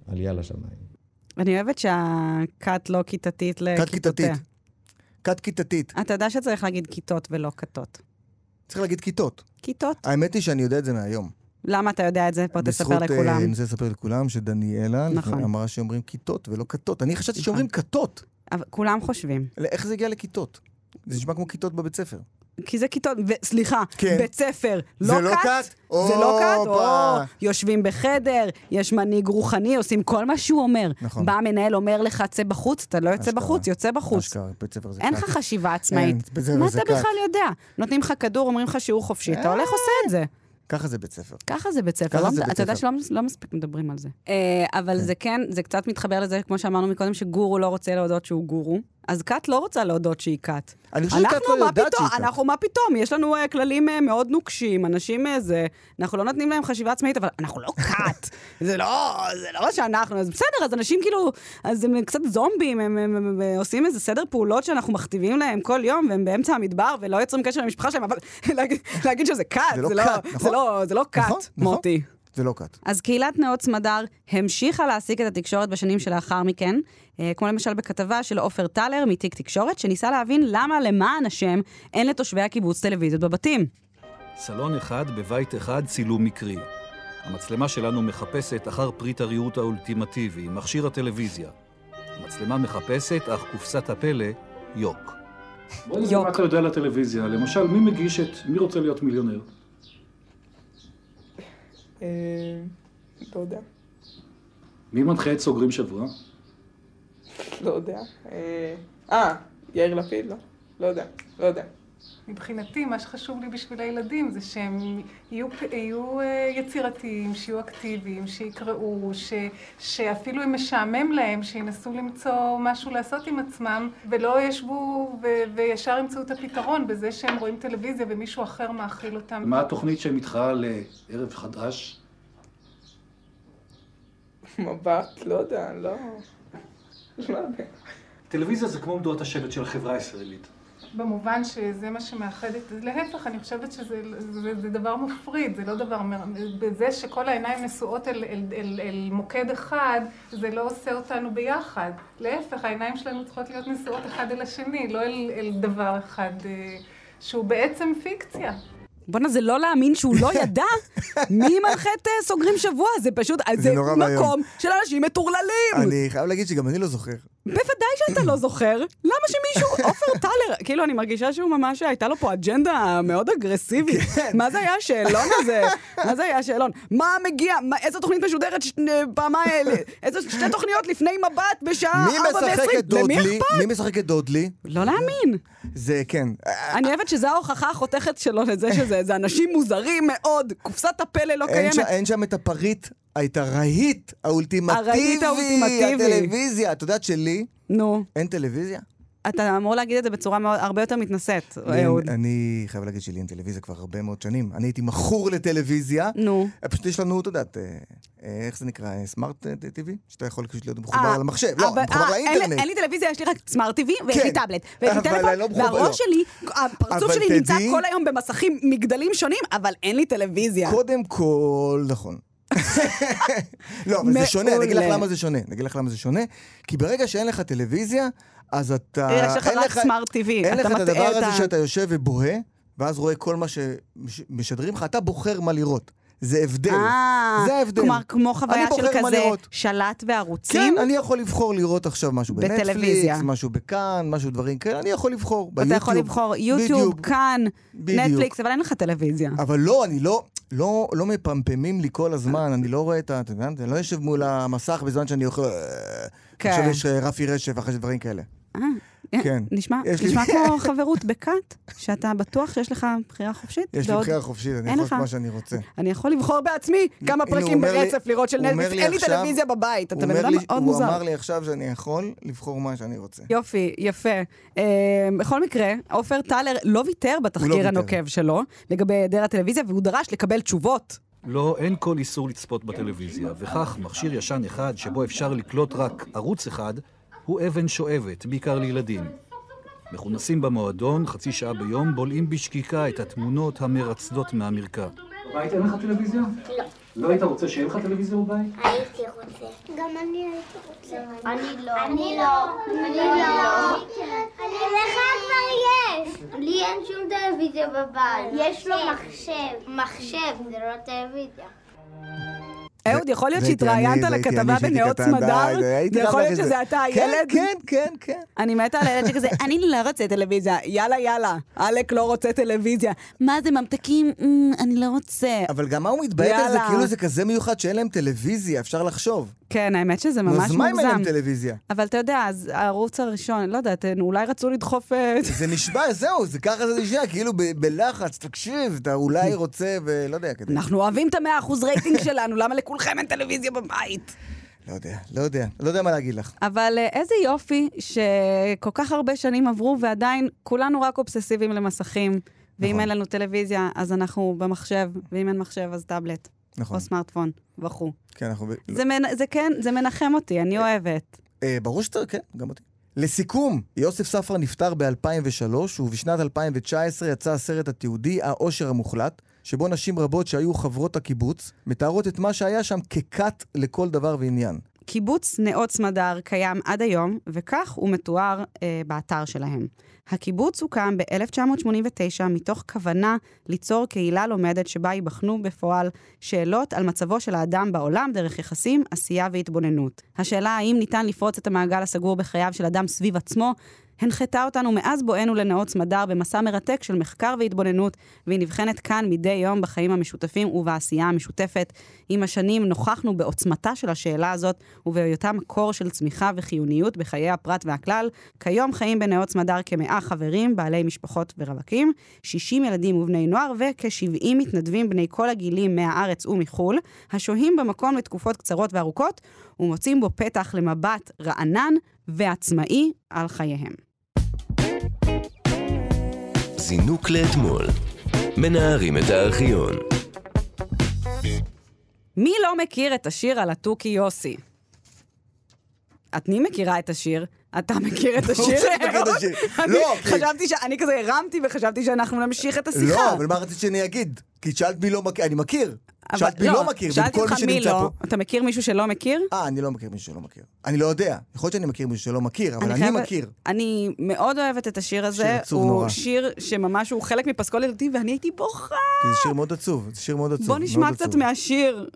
S6: עלייה לשמיים.
S3: אני אוהבת שהכת לא כיתתית
S4: כת
S3: לכיתותיה.
S4: כיתתית.
S3: אה.
S4: כת כיתתית.
S3: אתה יודע שצריך להגיד כיתות ולא כתות.
S4: צריך להגיד כיתות.
S3: כיתות.
S4: האמת היא שאני יודע את זה מהיום.
S3: למה אתה יודע את זה? בוא תספר
S4: בזכות, אה,
S3: לכולם.
S4: אני רוצה לספר לכולם שדניאלה
S3: נכון.
S4: לפני- אמרה שאומרים כיתות ולא כתות. אני חשבתי שאומרים כתות.
S3: אבל כולם חושבים.
S4: אלא איך זה הגיע לכיתות? זה נשמע כמו כיתות בבית ספר.
S3: כי זה כיתות, ו- סליחה,
S4: כן.
S3: בית ספר,
S4: זה לא
S3: לא
S4: כת?
S3: כת, זה לא כת,
S4: הופה.
S3: או יושבים בחדר, יש מנהיג רוחני, עושים כל מה שהוא אומר.
S4: נכון.
S3: בא המנהל, אומר לך, צא בחוץ, אתה לא יוצא
S4: אשכרה.
S3: בחוץ, יוצא בחוץ.
S4: אשכרה, בית ספר זה
S3: אין לך
S4: כת.
S3: חשיבה עצמאית.
S4: אין, בית ספר
S3: מה
S4: זה אה,
S3: אתה
S4: כת.
S3: בכלל יודע? נותנים לך כדור, אומרים לך שיעור חופשי, אתה הולך עושה את זה.
S4: ככה זה בית ספר.
S3: ככה זה בית ספר,
S4: ככה
S3: לא,
S4: זה בית
S3: אתה יודע
S4: ספר.
S3: שלא לא מספיק מדברים על זה. אה, אבל זה כן, זה קצת מתחבר לזה, כמו שאמרנו מקודם, שגורו לא רוצה להודות שהוא גורו, אז כת לא רוצה להודות שהיא כת.
S4: אני חושב שכת
S3: אנחנו,
S4: לא
S3: מה
S4: יודעת
S3: פתאום,
S4: שהיא כת.
S3: אנחנו, מה פתאום, יש לנו אה, כללים אה, מאוד נוקשים, אנשים אה, זה, אנחנו לא נותנים להם חשיבה עצמאית, אבל אנחנו לא כת, זה לא, זה לא מה שאנחנו, אז בסדר, אז אנשים כאילו, אז הם קצת זומבים, הם, הם, הם, הם, אה, עושים איזה סדר פעולות שאנחנו מכתיבים להם כל יום, והם באמצע המדבר ולא יוצרים קשר עם המשפחה שלהם, אבל להגיד, להגיד שזה כת,
S4: זה לא
S3: זה לא-
S4: כת,
S3: זה
S4: נכון?
S3: לא- זה לא
S4: נכון,
S3: כת,
S4: נכון.
S3: מוטי.
S4: זה לא כת.
S3: אז קהילת נאות סמדר המשיכה להעסיק את התקשורת בשנים שלאחר מכן, אה, כמו למשל בכתבה של עופר טלר מתיק תקשורת, שניסה להבין למה למען השם אין לתושבי הקיבוץ טלוויזיות בבתים.
S9: סלון אחד בבית אחד צילום מקרי. המצלמה שלנו מחפשת אחר פריט הריהוט האולטימטיבי, מכשיר הטלוויזיה. המצלמה מחפשת, אך קופסת הפלא, יוק.
S10: בוא נראה
S3: יוק.
S10: מה אתה יודע על הטלוויזיה. למשל, מי מגיש את מי רוצה להיות מיליונר?
S11: אה, לא יודע,
S10: מי מנחה את סוגרים שבוע?
S11: לא יודע. אה, אה, יאיר לפיד? לא. לא יודע, לא יודע.
S12: מבחינתי, מה שחשוב לי בשביל הילדים זה שהם יהיו, יהיו אה, יצירתיים, שיהיו אקטיביים, שיקראו, ש, שאפילו אם משעמם להם, שינסו למצוא משהו לעשות עם עצמם, ולא ישבו ו, וישר ימצאו את הפתרון בזה שהם רואים טלוויזיה ומישהו אחר מאכיל אותם.
S11: אמ.
S10: מה התוכנית שהם איתך לערב חדש?
S11: מבט? לא יודע, לא... לא יודע.
S10: טלוויזיה זה כמו עמדות השבט של החברה הישראלית.
S12: במובן שזה מה שמאחד את... להפך, אני חושבת שזה זה, זה דבר מפריד, זה לא דבר... מר- בזה שכל העיניים נשואות אל, אל, אל, אל מוקד אחד, זה לא עושה אותנו ביחד. להפך, העיניים שלנו צריכות להיות נשואות אחד אל השני, לא אל, אל דבר אחד אה, שהוא בעצם פיקציה.
S3: בואנה, זה לא להאמין שהוא לא ידע מי מנחה את אה, סוגרים שבוע, זה פשוט, אה, זה,
S4: זה נורא ואיום.
S3: מקום של אנשים מטורללים.
S4: אני חייב להגיד שגם אני לא זוכר.
S3: בוודאי שאתה לא זוכר, למה שמישהו, עופר טלר, כאילו, אני מרגישה שהוא ממש, הייתה לו פה אג'נדה מאוד אגרסיבית.
S4: כן.
S3: מה זה היה השאלון הזה? מה זה היה השאלון? מה מגיע? מה- איזו תוכנית משודרת ש- אה, פעמיים, איזה שתי תוכניות לפני מבט בשעה
S4: מי
S3: 4
S4: משחק את
S3: ו-20? למי
S4: דודלי?
S3: אכפת?
S4: מי משחק את דודלי?
S3: לא להאמין.
S4: זה כן.
S3: אני אוהבת שזו ההוכחה החותכת שלו לזה שזה זה אנשים מוזרים מאוד, קופסת הפלא לא
S4: אין, ש...
S3: קיימת.
S4: אין שם את הפריט, את הרהיט האולטימטיבי,
S3: הרהיט האולטימטיבי.
S4: הטלוויזיה. את יודעת שלי
S3: נו,
S4: אין טלוויזיה?
S3: אתה אמור להגיד את זה בצורה מאוד, הרבה יותר מתנשאת,
S4: לי אין-
S3: אהוד.
S4: אני חייב להגיד שלי אין טלוויזיה כבר הרבה מאוד שנים. אני הייתי מכור לטלוויזיה.
S3: נו.
S4: פשוט יש לנו, את יודעת, אה, אה, איך זה נקרא? סמארט TV? שאתה יכול פשוט להיות
S3: אה,
S4: מחובר למחשב. לא,
S3: אבל-
S4: אני מחובר
S3: אה, אין לי-
S4: לאינטרנט.
S3: אין לי טלוויזיה, יש לי רק סמארט TV, ויש
S4: כן.
S3: לי טאבלט, ויש לי
S4: אבל אני לא
S3: טלפון,
S4: מחובר,
S3: והראש
S4: לא.
S3: שלי, הפרצוף
S4: אבל
S3: שלי נמצא
S4: תדעי-
S3: כל היום במסכים, מגדלים שונים, אבל אין לי טלוויזיה.
S4: קודם כל, נכון. לא, אבל זה שונה, אני אגיד לך
S3: מעולה.
S4: למה זה שונה. אני אגיד לך למה זה שונה, כי ברגע שאין לך טלוויזיה, אז אתה...
S3: רגע, אה, יש לך
S4: אין
S3: רק סמארט TV,
S4: אין
S3: אתה
S4: לך את
S3: מטעה
S4: הדבר
S3: את ה-
S4: הזה שאתה יושב ובוהה, ואז רואה כל מה שמשדרים לך, אתה בוחר מה לראות. זה הבדל.
S3: אה,
S4: זה ההבדל.
S3: כלומר, כמו
S4: אני
S3: חוויה של
S4: בוחר מה
S3: כזה
S4: לראות.
S3: שלט
S4: כן,
S3: בערוצים.
S4: אני יכול לבחור לראות עכשיו משהו
S3: בטלוויזיה.
S4: בנטפליקס, משהו בכאן, משהו דברים כאלה, אני יכול לבחור ביוטיוב.
S3: אתה יכול לבחור יוטיוב,
S4: בדיוק.
S3: כאן,
S4: בדיוק.
S3: נטפליקס, אבל אין לך טלוויזיה.
S4: אבל לא, אני לא, לא, לא מפמפמים לי כל הזמן, אני לא רואה את ה... אתה יודע, אני לא יושב מול המסך בזמן שאני אוכל...
S3: כן.
S4: כן. עכשיו יש אה, רפי רשף אחרי דברים כאלה.
S3: אה,
S4: כן.
S3: נשמע
S4: יש לי-
S3: נשמע כמו חברות בכת, שאתה בטוח שיש לך בחירה חופשית.
S4: יש לי
S3: ועוד-
S4: בחירה חופשית, אני
S3: אין
S4: יכול
S3: לך.
S4: לעשות מה שאני רוצה.
S3: אני יכול לבחור בעצמי כמה
S4: הנה, הוא
S3: פרקים
S4: אומר לי-
S3: ברצף לראות של
S4: הוא אומר
S3: נטפליקס.
S4: לי
S3: אין לי
S4: עכשיו-
S3: טלוויזיה בבית,
S4: הוא
S3: אתה בן
S4: אומר
S3: אדם
S4: לי-
S3: מאוד
S4: הוא
S3: מוזר.
S4: אמר לי עכשיו שאני יכול לבחור מה שאני רוצה.
S3: יופי, יפה. אה, בכל מקרה, עופר טלר לא ויתר
S4: הוא לא
S3: בתחקיר
S4: ויתר.
S3: הנוקב שלו לגבי היעדר הטלוויזיה, והוא דרש לקבל תשובות.
S9: לא, אין כל איסור לצפות בטלוויזיה, וכך מכשיר ישן אחד שבו אפשר לקלוט רק ערוץ אחד, הוא אבן שואבת, בעיקר לילדים. מכונסים במועדון, חצי שעה ביום, בולעים בשקיקה את התמונות המרצדות מהמרקע.
S10: בבית אין לך טלוויזיה?
S13: לא.
S10: לא היית רוצה שיהיה לך טלוויזיה בבית?
S13: הייתי רוצה. גם אני הייתי רוצה. אני לא.
S14: אני לא.
S13: אני
S14: אני
S13: לא.
S14: לא.
S13: לך כבר יש. לי אין שום טלוויזיה בבית. יש לו מחשב. מחשב, זה לא טלוויזיה.
S3: אהוד, יכול להיות
S4: זה הייתי אני,
S3: שהתראיינת
S4: זה הייתי
S3: לכתבה
S4: אני שהייתי
S3: בנאות
S4: קטן,
S3: סמדר?
S4: די, די, הייתי
S3: זה
S4: חייב
S3: יכול להיות
S4: להכניס
S3: שזה
S4: את זה.
S3: אתה
S4: כן,
S3: הילד?
S4: כן, כן, כן.
S3: אני מתה על הילד שכזה, אני לא רוצה טלוויזיה, יאללה יאללה, עלק לא רוצה טלוויזיה. מה זה, ממתקים? "אמ, אני לא רוצה.
S4: כן. אבל גם מה הוא מתביית על זה?
S3: יאללה.
S4: כאילו זה כזה מיוחד שאין להם טלוויזיה, אפשר לחשוב.
S3: כן, האמת שזה ממש
S4: אז
S3: מוגזם.
S4: מה אם אין להם טלוויזיה?
S3: אבל אתה יודע, אז הערוץ הראשון, לא יודעת, הן אולי רצו לדחוף... אה,
S4: זה נשבע, זהו, זה ככה זה נשמע, כאילו ב- בלחץ, תקשיב, אתה אולי רוצה ולא יודע, כדי...
S3: אנחנו אוהבים את המאה אחוז רייטינג שלנו, למה לכולכם אין טלוויזיה בבית?
S4: לא יודע, לא יודע, לא יודע מה להגיד לך.
S3: אבל אה, איזה יופי שכל כך הרבה שנים עברו ועדיין כולנו רק אובססיביים למסכים. ואם
S4: נכון.
S3: אין לנו טלוויזיה, אז אנחנו במחשב, ואם אין מחשב, אז טאבלט.
S4: נכון.
S3: או סמארטפון, וכו'.
S4: כן, אנחנו... ב- לא.
S3: זה, מנ... זה כן, זה מנחם אותי, אני אוהבת.
S4: אה, ברור שאתה, כן, גם אותי. לסיכום, יוסף ספרא נפטר ב-2003, ובשנת 2019 יצא הסרט התיעודי "העושר המוחלט", שבו נשים רבות שהיו חברות הקיבוץ, מתארות את מה שהיה שם ככת לכל דבר ועניין.
S3: קיבוץ נאות סמדר קיים עד היום, וכך הוא מתואר אה, באתר שלהם. הקיבוץ הוקם ב-1989 מתוך כוונה ליצור קהילה לומדת שבה ייבחנו בפועל שאלות על מצבו של האדם בעולם דרך יחסים, עשייה והתבוננות. השאלה האם ניתן לפרוץ את המעגל הסגור בחייו של אדם סביב עצמו, הנחתה אותנו מאז בואנו לנאות סמדר במסע מרתק של מחקר והתבוננות, והיא נבחנת כאן מדי יום בחיים המשותפים ובעשייה המשותפת. עם השנים נוכחנו בעוצמתה של השאלה הזאת ובהיותה מקור של צמיחה וחיוניות בחיי הפרט והכלל. כיום חיים בנאות סמדר כמאה חברים, בעלי משפחות ורווקים, 60 ילדים ובני נוער וכ-70 מתנדבים בני כל הגילים מהארץ ומחו"ל, השוהים במקום לתקופות קצרות וארוכות ומוצאים בו פתח למבט רענן ועצמאי על חייהם.
S2: זינוק לאתמול, מנערים את הארכיון.
S3: מי לא מכיר את השיר על התוכי יוסי? את מי מכירה את השיר? אתה מכיר את
S4: ברור
S3: השיר?
S4: שאני מכיר את
S3: אהוד?
S4: השיר.
S3: אני
S4: לא, כי-
S3: חשבתי ש... אני כזה הרמתי וחשבתי שאנחנו נמשיך את השיחה.
S4: לא, אבל מה רצית שאני אגיד? כי שאלת מי לא מכיר, אני מכיר.
S3: אבל-
S4: שאלת מי לא מכיר,
S3: שאלתי
S4: וכל
S3: אותך
S4: מי שנמצא
S3: לא.
S4: פה.
S3: אתה מכיר מישהו שלא מכיר?
S4: אה, אני לא מכיר מישהו שלא מכיר. אני לא יודע. יכול להיות שאני מכיר מישהו שלא מכיר, אבל אני
S3: חייבת-
S4: מכיר.
S3: אני מאוד אוהבת את השיר הזה.
S4: שיר עצוב
S3: הוא
S4: נורא.
S3: שיר שממש הוא חלק מפסקול ילדי, ואני הייתי בוכה.
S4: כי זה שיר מאוד עצוב, זה שיר מאוד עצוב.
S3: בוא נשמע
S4: מאוד
S3: קצת
S4: עצוב.
S3: מהשיר.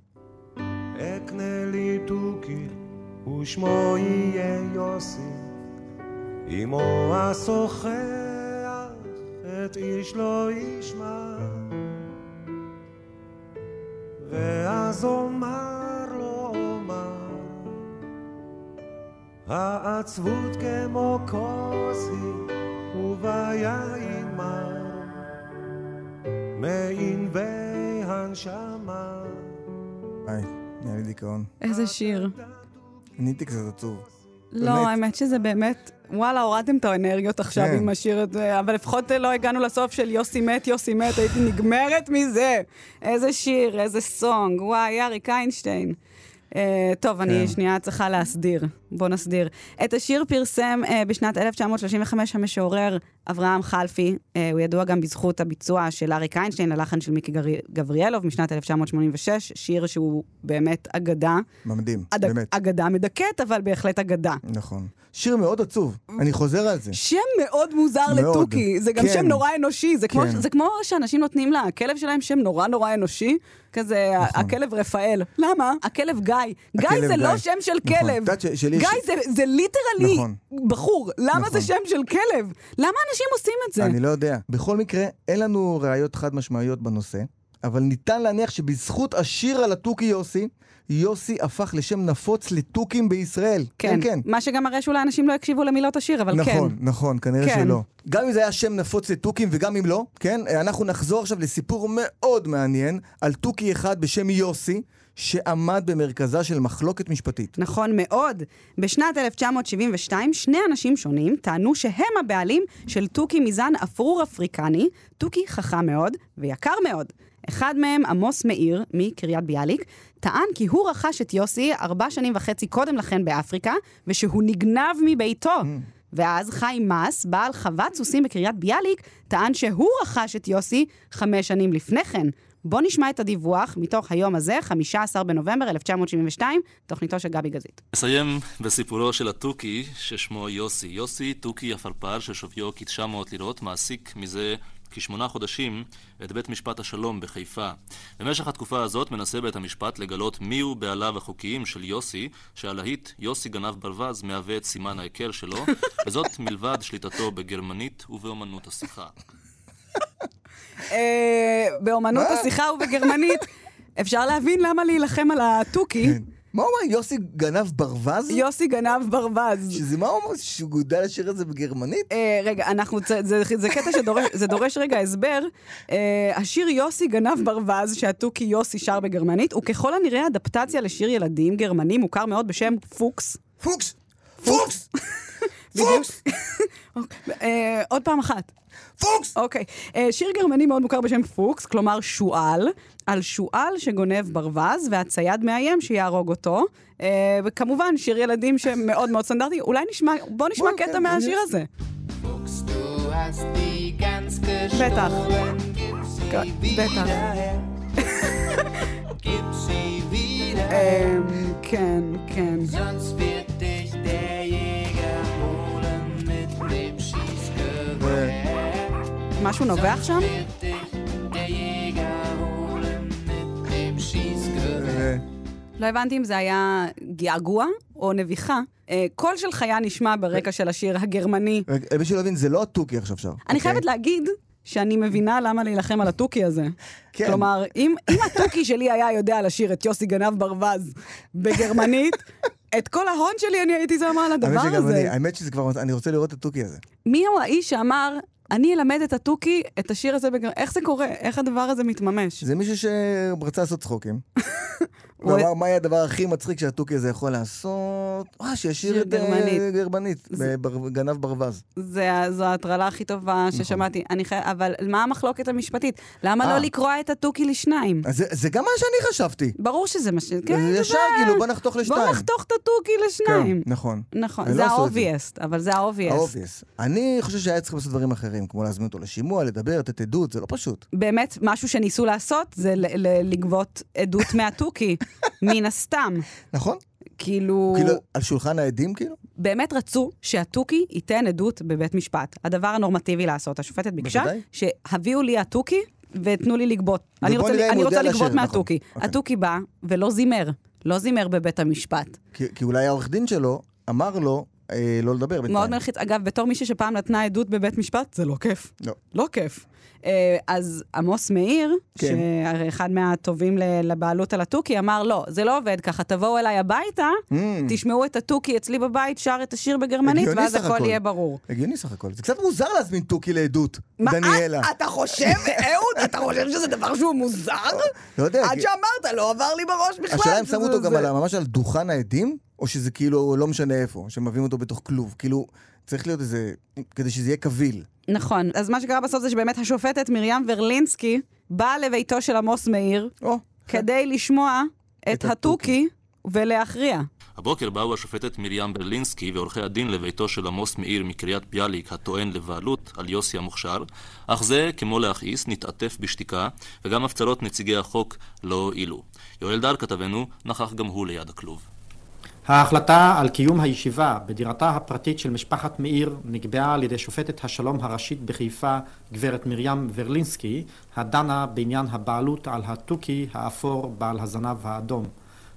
S15: אקנה לי תוכי, ושמו יהיה יוסי. עמו השוחח, את איש לא ישמע. ואז אומר לו אומר, העצבות כמו כוס היא, וביין מר, מענבי הנשמה.
S4: היי, נהיה לי דיכאון.
S3: איזה שיר.
S4: נהייתי קצת עצוב.
S3: לא, האמת שזה באמת... וואלה, הורדתם את האנרגיות עכשיו
S4: כן.
S3: עם השיר הזה, אבל לפחות לא הגענו לסוף של יוסי מת, יוסי מת, הייתי נגמרת מזה. איזה שיר, איזה סונג. וואי, אריק איינשטיין. Uh, טוב,
S4: כן.
S3: אני שנייה צריכה להסדיר. בוא נסדיר. את השיר פרסם uh, בשנת 1935 המשורר אברהם חלפי. Uh, הוא ידוע גם בזכות הביצוע של אריק איינשטיין ללחן של מיקי גרי- גבריאלוב משנת 1986, שיר שהוא באמת אגדה.
S4: ממדים,
S3: אד-
S4: באמת.
S3: אגדה מדכאת, אבל בהחלט אגדה.
S4: נכון. שיר מאוד עצוב, אני חוזר על זה.
S3: שם מאוד מוזר
S4: מאוד.
S3: לתוכי, זה גם
S4: כן.
S3: שם נורא אנושי, זה כמו,
S4: כן.
S3: זה כמו שאנשים נותנים לכלב שלהם שם נורא נורא אנושי, כזה הכלב רפאל. למה? הכלב גיא. גיא
S4: נכון. הכלב
S3: זה
S4: גיא.
S3: לא שם של
S4: נכון.
S3: כלב.
S4: את יודעת ש- שלי יש-
S3: גיא זה- זה ליטרלי
S4: נכון.
S3: בחור, למה
S4: נכון.
S3: זה שם של כלב? למה אנשים עושים את זה?
S4: אני לא יודע. בכל מקרה, אין לנו ראיות חד משמעיות בנושא, אבל ניתן להניח שבזכות השיר על התוכי יוסי, יוסי הפך לשם נפוץ לתוכים בישראל.
S3: כן,
S4: כן.
S3: מה שגם מראה שאולי אנשים לא יקשיבו למילות השיר, אבל כן.
S4: נכון, נכון, כנראה
S3: כן.
S4: שלא. גם אם זה היה שם נפוץ לתוכים וגם אם לא, כן? אנחנו נחזור עכשיו לסיפור מאוד מעניין על תוכי אחד בשם יוסי, שעמד במרכזה של מחלוקת משפטית.
S3: נכון מאוד. בשנת 1972, שני אנשים שונים טענו שהם הבעלים של תוכי מזן אפרור אפריקני, תוכי חכם מאוד ויקר מאוד. אחד מהם, עמוס מאיר, מקריית ביאליק, טען כי הוא רכש את יוסי ארבע שנים וחצי קודם לכן באפריקה, ושהוא נגנב מביתו. ואז חיים מס, בעל חוות סוסים בקריית ביאליק, טען שהוא רכש את יוסי חמש שנים לפני כן. בואו נשמע את הדיווח מתוך היום הזה, 15 בנובמבר 1972, תוכניתו של גבי גזית.
S14: אסיים בסיפורו של התוכי ששמו יוסי. יוסי, תוכי עפרפר ששוויו כ-900 לירות, מעסיק מזה כשמונה חודשים את בית משפט השלום בחיפה. במשך התקופה הזאת מנסה בית המשפט לגלות מיהו בעליו החוקיים של יוסי, שהלהיט יוסי גנב ברווז מהווה את סימן ההיכר שלו, וזאת מלבד שליטתו בגרמנית ובאמנות השיחה.
S3: אה, באומנות השיחה ובגרמנית, אפשר להבין למה להילחם על התוכי.
S4: מה הוא אומר? יוסי גנב ברווז?
S3: יוסי גנב ברווז.
S4: שזה מה הוא אומר? שהוא יודע לשיר את זה בגרמנית?
S3: אה, רגע, אנחנו, צ- זה, זה, זה קטע שדורש זה דורש רגע הסבר. אה, השיר יוסי גנב ברווז, שהתוכי יוסי שר בגרמנית, הוא ככל הנראה אדפטציה לשיר ילדים גרמני מוכר מאוד בשם פוקס.
S4: פוקס! פוקס! פוקס!
S3: אה, עוד פעם אחת.
S4: פוקס!
S3: אוקיי. אה, שיר גרמני מאוד מוכר בשם פוקס, כלומר שועל, על שועל שגונב ברווז, והצייד מאיים שיהרוג אותו. אה, וכמובן, שיר ילדים שמאוד מאוד סטנדרטי. אולי נשמע, בוא נשמע
S16: בוא,
S3: קטע
S16: כן,
S3: מהשיר
S16: אני-
S3: הזה.
S16: Du hast die ganz
S3: בטח.
S16: gestohlen, gib
S3: Gott,
S16: sie
S3: בטח.
S16: wieder her. Gib sie wieder her,
S3: אמ, כן, כן.
S16: sonst wird dich der Jäger holen mit dem Schießgewehr.
S3: משהו נובח שם?
S16: Wird dich der Jäger holen mit dem Schießgewehr.
S3: לא הבנתי אם זה היה געגוע או נביחה. אה, קול של חיה נשמע ברקע של השיר הגרמני.
S4: רגע, בשביל להבין, זה לא התוכי עכשיו שר.
S3: אני חייבת להגיד שאני מבינה למה להילחם על התוכי הזה.
S4: כן.
S3: כלומר, אם אם התוכי שלי היה יודע לשיר את יוסי גנב ברווז בגרמנית, את כל ההון שלי אני הייתי שמה על הדבר
S4: האמת שגם אני,
S3: הזה.
S4: האמת שזה כבר, אני רוצה לראות את התוכי הזה.
S3: מי הוא האיש שאמר, אני אלמד את התוכי את השיר הזה בגרמנית? איך זה קורה? איך הדבר הזה מתממש?
S4: זה מישהו שרצה לעשות צחוקים. הוא אמר, מה היה הדבר הכי מצחיק שהתוכי הזה יכול לעשות? אה, שישיר
S3: שיר
S4: את אה,
S3: גרמנית.
S4: גרמנית, בבר- גנב ברווז.
S3: זה, ה- זו ההטרלה הכי טובה ששמעתי. אני חי... אבל מה המחלוקת המשפטית? למה
S4: נכון. אה.
S3: לא לקרוע את התוכי לשניים?
S4: אז זה- זה גם מה שאני חשבתי.
S3: ברור שזה מה ש... כן,
S4: זה
S3: אתה
S4: ישר,
S3: יודע.
S4: כאילו, בוא נחתוך לשניים.
S3: בוא נחתוך את התוכי לשניים.
S4: כן, נכון.
S3: נכון,
S4: ולא
S3: זה
S4: עשו את זה.
S3: ה-obvious, אבל זה ה-obvious.
S4: האובייס. אני חושב שהיה צריך לעשות דברים אחרים, כמו להזמין אותו לשימוע, לדבר, לתת עדות, זה לא פשוט.
S3: באמת, משהו שניסו לעשות זה ל- ל- לגבות עדות מהתוכי, מן הסתם.
S4: נכון.
S3: כאילו...
S4: כאילו, על שולחן העדים, כאילו?
S3: באמת רצו שהתוכי ייתן עדות בבית משפט. הדבר הנורמטיבי לעשות. השופטת ביקשה
S4: בוודאי.
S3: שהביאו לי התוכי ותנו לי לגבות.
S4: ובוא
S3: אני רוצה,
S4: נראה אם
S3: אני
S4: הוא
S3: רוצה
S4: יודע
S3: לגבות
S4: לשיר, נכון.
S3: מהתוכי.
S4: אוקיי.
S3: התוכי בא ולא זימר. לא זימר בבית המשפט.
S4: כי- כי אולי העורך דין שלו אמר לו אה, לא לדבר
S3: מאוד
S4: בינתיים.
S3: מלחיץ. אגב, בתור מישהי שפעם נתנה עדות בבית משפט, זה לא כיף.
S4: לא.
S3: לא כיף. אה, אז עמוס מאיר,
S4: כן.
S3: שהרי אחד מהטובים ל- לבעלות על התוכי, אמר, לא, זה לא עובד ככה, תבואו אליי הביתה,
S4: Mm.
S3: תשמעו את התוכי אצלי בבית, שר את השיר בגרמנית,
S4: הגיוני
S3: ואז
S4: סך
S3: הכל
S4: הכל.
S3: יהיה ברור.
S4: הגיוני סך הכל. זה קצת מוזר להזמין תוכי לעדות,
S3: מה,
S4: דניאלה.
S3: את- אתה חושב, אהוד, אתה חושב שזה דבר שהוא מוזר?
S4: לא יודע,
S3: עד
S4: כי-
S3: שאמרת, לא עבר לי בראש בכלל.
S4: השאלה אם
S3: שזה-
S4: שמו אותו גם
S3: זה-
S4: על ה- ממש על דוכן העדים, או שזה כאילו לא משנה איפה, שמביאים אותו בתוך כלוב. כאילו, צריך להיות איזה... כדי שזה יהיה קביל.
S3: נכון, אז מה שקרה בסוף זה שבאמת השופטת מרים ורלינסקי באה לביתו של עמוס מאיר, כדי לשמוע את התוכי ולהכריע.
S14: הבוקר באו השופטת מרים ברלינסקי ועורכי הדין לביתו של עמוס מאיר מקריית ביאליק הטוען לבעלות על יוסי המוכשר, אך זה, כמו להכעיס, נתעטף בשתיקה, וגם הפצרות נציגי החוק לא הועילו. יואל דר כתבנו נכח גם הוא ליד הכלוב.
S17: ההחלטה על קיום הישיבה בדירתה הפרטית של משפחת מאיר נקבעה על ידי שופטת השלום הראשית בחיפה, גברת מרים ורלינסקי, הדנה בעניין הבעלות על התוכי האפור בעל הזנב האדום.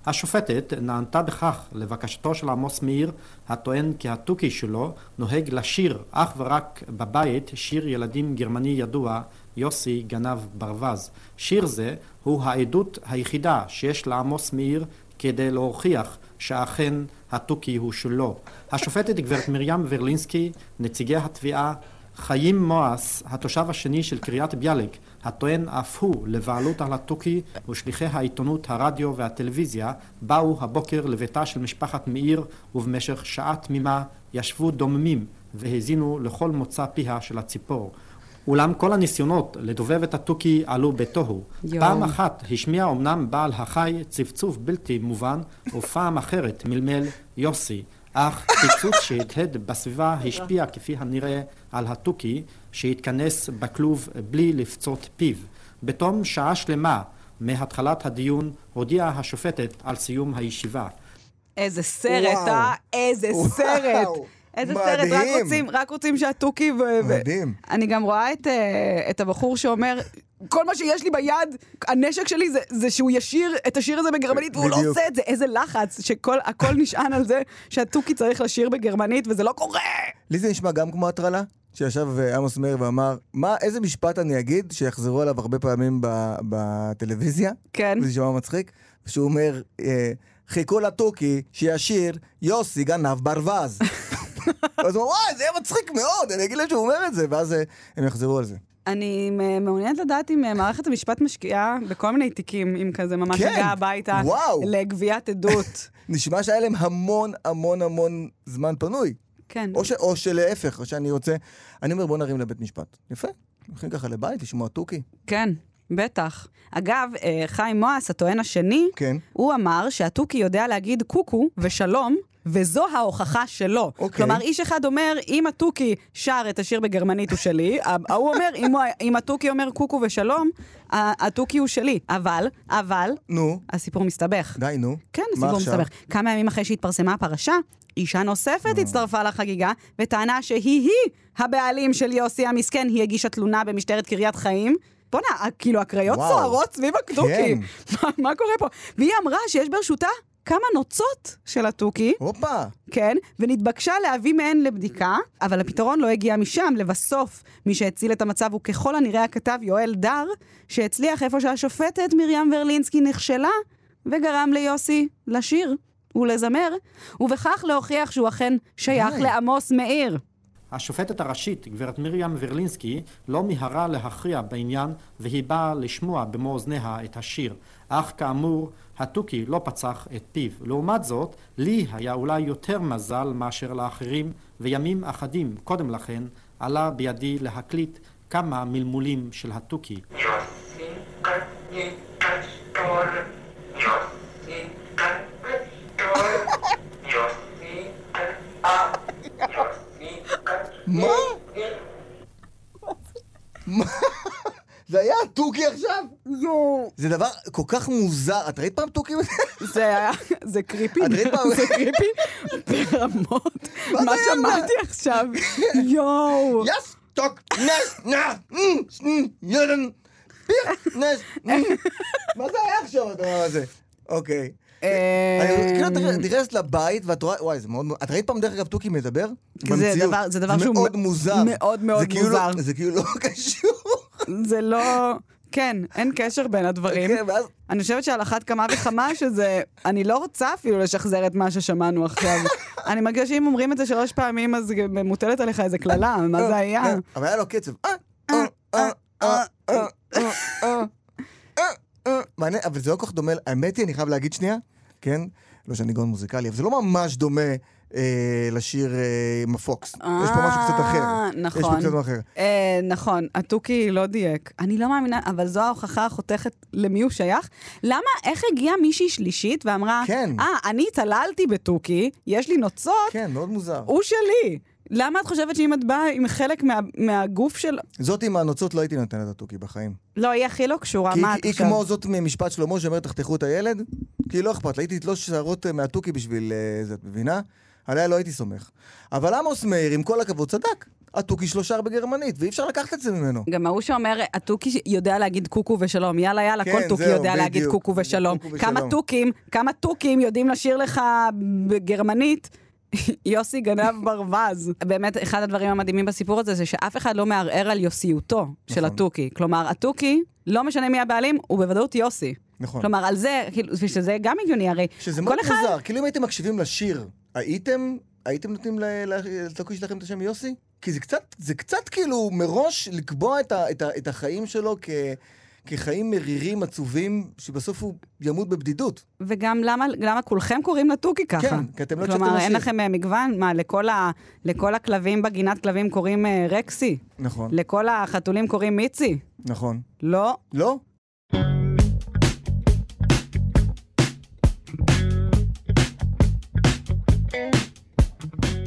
S17: השופטת נענתה בכך לבקשתו של עמוס מאיר, הטוען כי התוכי שלו נוהג לשיר אך ורק בבית שיר ילדים גרמני ידוע, יוסי גנב ברווז. שיר זה הוא העדות היחידה שיש לעמוס מאיר כדי להוכיח שאכן התוכי הוא שלו. השופטת גברת מרים ורלינסקי, נציגי התביעה, חיים מואס, התושב השני של קריית ביאליק, הטוען אף הוא לבעלות על התוכי ושליחי העיתונות, הרדיו והטלוויזיה, באו הבוקר לביתה של משפחת מאיר ובמשך שעה תמימה ישבו דוממים והאזינו לכל מוצא פיה של הציפור. אולם כל הניסיונות לדובב את התוכי עלו בתוהו.
S18: יואו.
S17: פעם אחת השמיע אמנם בעל החי צפצוף בלתי מובן, ופעם אחרת מלמל יוסי, אך פיצוץ שהדהד בסביבה השפיע כפי הנראה על התוכי, שהתכנס בכלוב בלי לפצות פיו. בתום שעה שלמה מהתחלת הדיון הודיעה השופטת על סיום הישיבה.
S3: איזה סרט, אה? איזה
S17: וואו.
S3: סרט. איזה סרט, רק
S17: מדהים.
S3: רוצים, רק רוצים שהתוכי ו... ו-
S4: מדהים.
S3: אני גם רואה את, אה, את הבחור שאומר, כל מה שיש לי ביד, הנשק שלי זה, זה שהוא ישיר את השיר הזה בגרמנית, והוא לא
S4: בדיוק.
S3: עושה את זה. איזה לחץ, שהכל נשען על זה שהתוכי צריך לשיר בגרמנית, וזה לא קורה.
S4: לי זה נשמע גם כמו הטרלה, שישב אה, עמוס מאיר ואמר, מה, איזה משפט אני אגיד שיחזרו עליו הרבה פעמים ב- בטלוויזיה?
S3: כן.
S4: זה נשמע מצחיק. שהוא אומר, אה, חיכו לתוכי שישיר יוסי גנב ברווז. אז הוא אמר, וואי, זה היה מצחיק מאוד, אני אגיד להם שהוא אומר את זה, ואז אה, הם יחזרו על זה.
S3: אני אה, מעוניינת לדעת אם אה, מערכת המשפט משקיעה בכל מיני תיקים, אם כזה ממש
S4: כן.
S3: הגעה הביתה,
S4: וואו.
S3: לגביית עדות.
S4: נשמע שהיה להם המון המון המון זמן פנוי.
S3: כן.
S4: או, ש, או שלהפך, או שאני רוצה... אני אומר, בוא נרים לבית משפט. יפה. הולכים ככה לבית, לשמוע תוכי.
S3: כן, בטח. אגב, אה, חיים מואס, הטוען השני,
S4: כן.
S3: הוא אמר שהתוכי יודע להגיד קוקו ושלום, וזו ההוכחה שלו.
S4: אוקיי.
S3: כלומר, איש אחד אומר, אם התוכי שר את השיר בגרמנית הוא שלי, ה- ההוא אומר, אם, הוא- אם התוכי אומר קוקו ושלום, ה- התוכי הוא שלי. אבל, אבל,
S4: נו.
S3: הסיפור מסתבך.
S4: די, נו.
S3: כן,
S4: מה
S3: הסיפור
S4: עכשיו?
S3: מסתבך. כמה ימים אחרי שהתפרסמה הפרשה, אישה נוספת הצטרפה לחגיגה וטענה שהיא-היא הבעלים של יוסי המסכן, היא הגישה תלונה במשטרת קריית חיים. בואנה, ה- כאילו הקריות
S18: וואו.
S3: סוערות סביב
S18: כן.
S3: הקדוקי. מה- מה קורה פה? והיא אמרה שיש ברשותה כמה נוצות של התוכי.
S4: הופה.
S3: כן, ונתבקשה להביא מהן לבדיקה, אבל הפתרון לא הגיע משם. לבסוף, מי שהציל את המצב הוא ככל הנראה הכתב יואל דר, שהצליח איפה שהשופטת מרים ורלינסקי נכשלה, וגרם ליוסי לשיר ולזמר, ובכך להוכיח שהוא אכן שייך
S17: די.
S3: לעמוס מאיר.
S17: השופטת הראשית, גברת מרים ורלינסקי, לא מיהרה להכריע בעניין והיא באה לשמוע במו אוזניה את השיר. אך כאמור, התוכי לא פצח את פיו. לעומת זאת, לי היה אולי יותר מזל מאשר לאחרים, וימים אחדים קודם לכן עלה בידי להקליט כמה מלמולים של התוכי.
S4: מה? מה? זה היה תוכי עכשיו?
S3: יואו.
S4: זה דבר כל כך מוזר. את ראית פעם תוכי?
S3: זה היה, זה קריפי.
S4: את ראית פעם?
S3: זה קריפי ברמות. מה
S4: זה היה? כן.
S3: שמעתי עכשיו? יואו.
S4: יס, טוק, נס, נא, אמ, אמ, ירן, פיך, נס, אמ. מה זה היה עכשיו הדבר הזה? אוקיי.
S3: אה,
S4: אני- כאילו, את נכנסת לבית ואת רואה, וואי, זה מאוד, את ראית פעם דרך אגב תוכי מדבר?
S3: כי זה
S4: במציאות.
S3: דבר- זה דבר שהוא
S4: מאוד
S3: מ-
S4: מוזר.
S3: מאוד מאוד
S4: זה כאילו לא-
S3: מוזר.
S4: זה כאילו לא קשור.
S3: זה לא... כן, אין קשר בין הדברים.
S4: כן, ואז...
S3: אני חושבת שעל אחת כמה וכמה שזה... אני לא רוצה אפילו לשחזר את מה ששמענו עכשיו. אני מרגישה שאם אומרים את זה שלוש פעמים, אז גם מוטלת עליך איזה קללה, מה זה היה?
S4: אבל היה לו קצב. אה, אה, אה, אה, אה, אה, אה, אה, אה. מעניין, אבל זה לא כל כך דומה, האמת היא, אני חייב להגיד שנייה, כן? לא שאני גאון מוזיקלי, אבל זה לא ממש דומה אה, לשיר אה, עם הפוקס. יש פה משהו קצת אחר.
S3: אה,
S4: יש פה
S3: נכון.
S4: קצת אחר.
S3: אה, נכון, התוכי לא דייק. אני לא מאמינה, אבל זו ההוכחה החותכת למי הוא שייך. למה, איך הגיעה מישהי שלישית ואמרה,
S4: כן.
S3: אה, אני צללתי בתוכי, יש לי נוצות,
S4: כן, מאוד מוזר.
S3: הוא שלי. למה את חושבת שאם את באה עם חלק מה, מהגוף של...
S4: זאת עם הנוצות לא הייתי נותן את התוכי בחיים.
S3: לא, היא הכי לא קשורה,
S4: כי
S3: מה
S4: היא-
S3: את
S4: היא
S3: עכשיו?
S4: כמו זאת ממשפט שלמה שאומרת, תחתכו את הילד, כי לא אכפת לה, הייתי תלוש שערות אה, מהתוכי בשביל אה, זה, את מבינה? עליה לא הייתי סומך. אבל עמוס מאיר, עם כל הכבוד, צדק. התוכי שלו שר בגרמנית, ואי אפשר לקחת את זה ממנו.
S3: גם ההוא שאומר, התוכי יודע להגיד קוקו ושלום. יאללה, יאללה,
S4: כן,
S3: כל תוכי
S4: זהו,
S3: יודע להגיד
S4: בדיוק.
S3: קוקו ושלום.
S4: קוקו
S3: כמה
S4: ושלום.
S3: תוכים, כמה תוכים יודעים לשיר לך בגרמנית? יוסי גנב ברווז. באמת, אחד הדברים המדהימים בסיפור הזה זה שאף אחד לא מערער על יוסיותו
S4: נכון.
S3: של התוכי. כלומר, התוכי, לא משנה מי הבעלים, הוא בוודאות יוסי.
S4: נכון.
S3: כלומר, על זה, כאילו, ושזה גם הגיוני, הרי
S4: שזה
S3: כל
S4: מאוד
S3: אחד...
S4: מוזר, כאילו אם הייתם מקשיבים לשיר, הייתם, הייתם נותנים ל- ל- לתוכי שלכם את השם יוסי? כי זה קצת, זה קצת כאילו מראש לקבוע את, ה, את, ה, את החיים שלו כ, כחיים מרירים, עצובים, שבסוף הוא ימות בבדידות.
S3: וגם למה, למה כולכם קוראים לתוכי ככה?
S4: כן, כי אתם לא
S3: כלומר,
S4: הקשבתם
S3: אין
S4: לשיר.
S3: לכם אה, מגוון? מה, לכל, ה, לכל הכלבים בגינת כלבים קוראים אה, רקסי?
S4: נכון.
S3: לכל החתולים קוראים מיצי?
S4: נכון.
S3: לא.
S4: לא?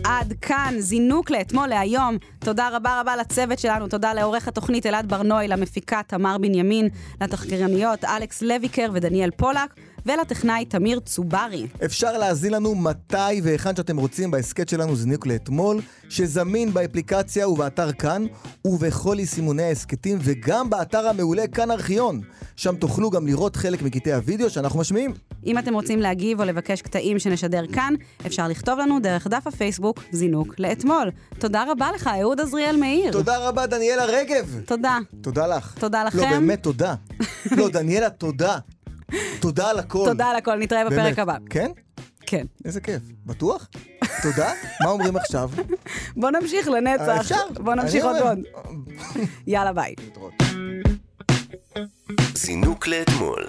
S3: עד כאן זינוק לאתמול להיום. תודה רבה רבה לצוות שלנו, תודה לעורך התוכנית אלעד ברנוי, למפיקה תמר בנימין, לתחקרניות אלכס לויקר ודניאל פולק, ולטכנאי תמיר צוברי.
S4: אפשר להזין לנו מתי והיכן שאתם רוצים בהסכת שלנו זניוק לאתמול, שזמין באפליקציה ובאתר כאן, ובכל יישומוני ההסכתים, וגם באתר המעולה כאן ארכיון. שם תוכלו גם לראות חלק מקטעי הוידאו שאנחנו משמיעים.
S3: אם אתם רוצים להגיב או לבקש קטעים שנשדר כאן, אפשר לכתוב לנו דרך דף הפייסבוק זינוק לאתמול. תודה רבה לך, אהוד עזריאל מאיר.
S4: תודה רבה, דניאלה רגב.
S3: תודה.
S4: תודה לך.
S3: תודה לכם.
S4: לא, באמת תודה. לא, דניאלה, תודה. תודה על הכל.
S3: תודה על הכל, נתראה בפרק
S4: באמת.
S3: הבא.
S4: כן?
S3: כן.
S4: איזה כיף. בטוח? תודה? מה אומרים עכשיו?
S3: בוא נמשיך
S4: אה,
S3: לנצח.
S4: אפשר?
S3: בוא נמשיך
S4: אני
S3: עוד
S4: אומר.
S3: עוד. יאללה, ביי.
S2: זינוק לאתמול.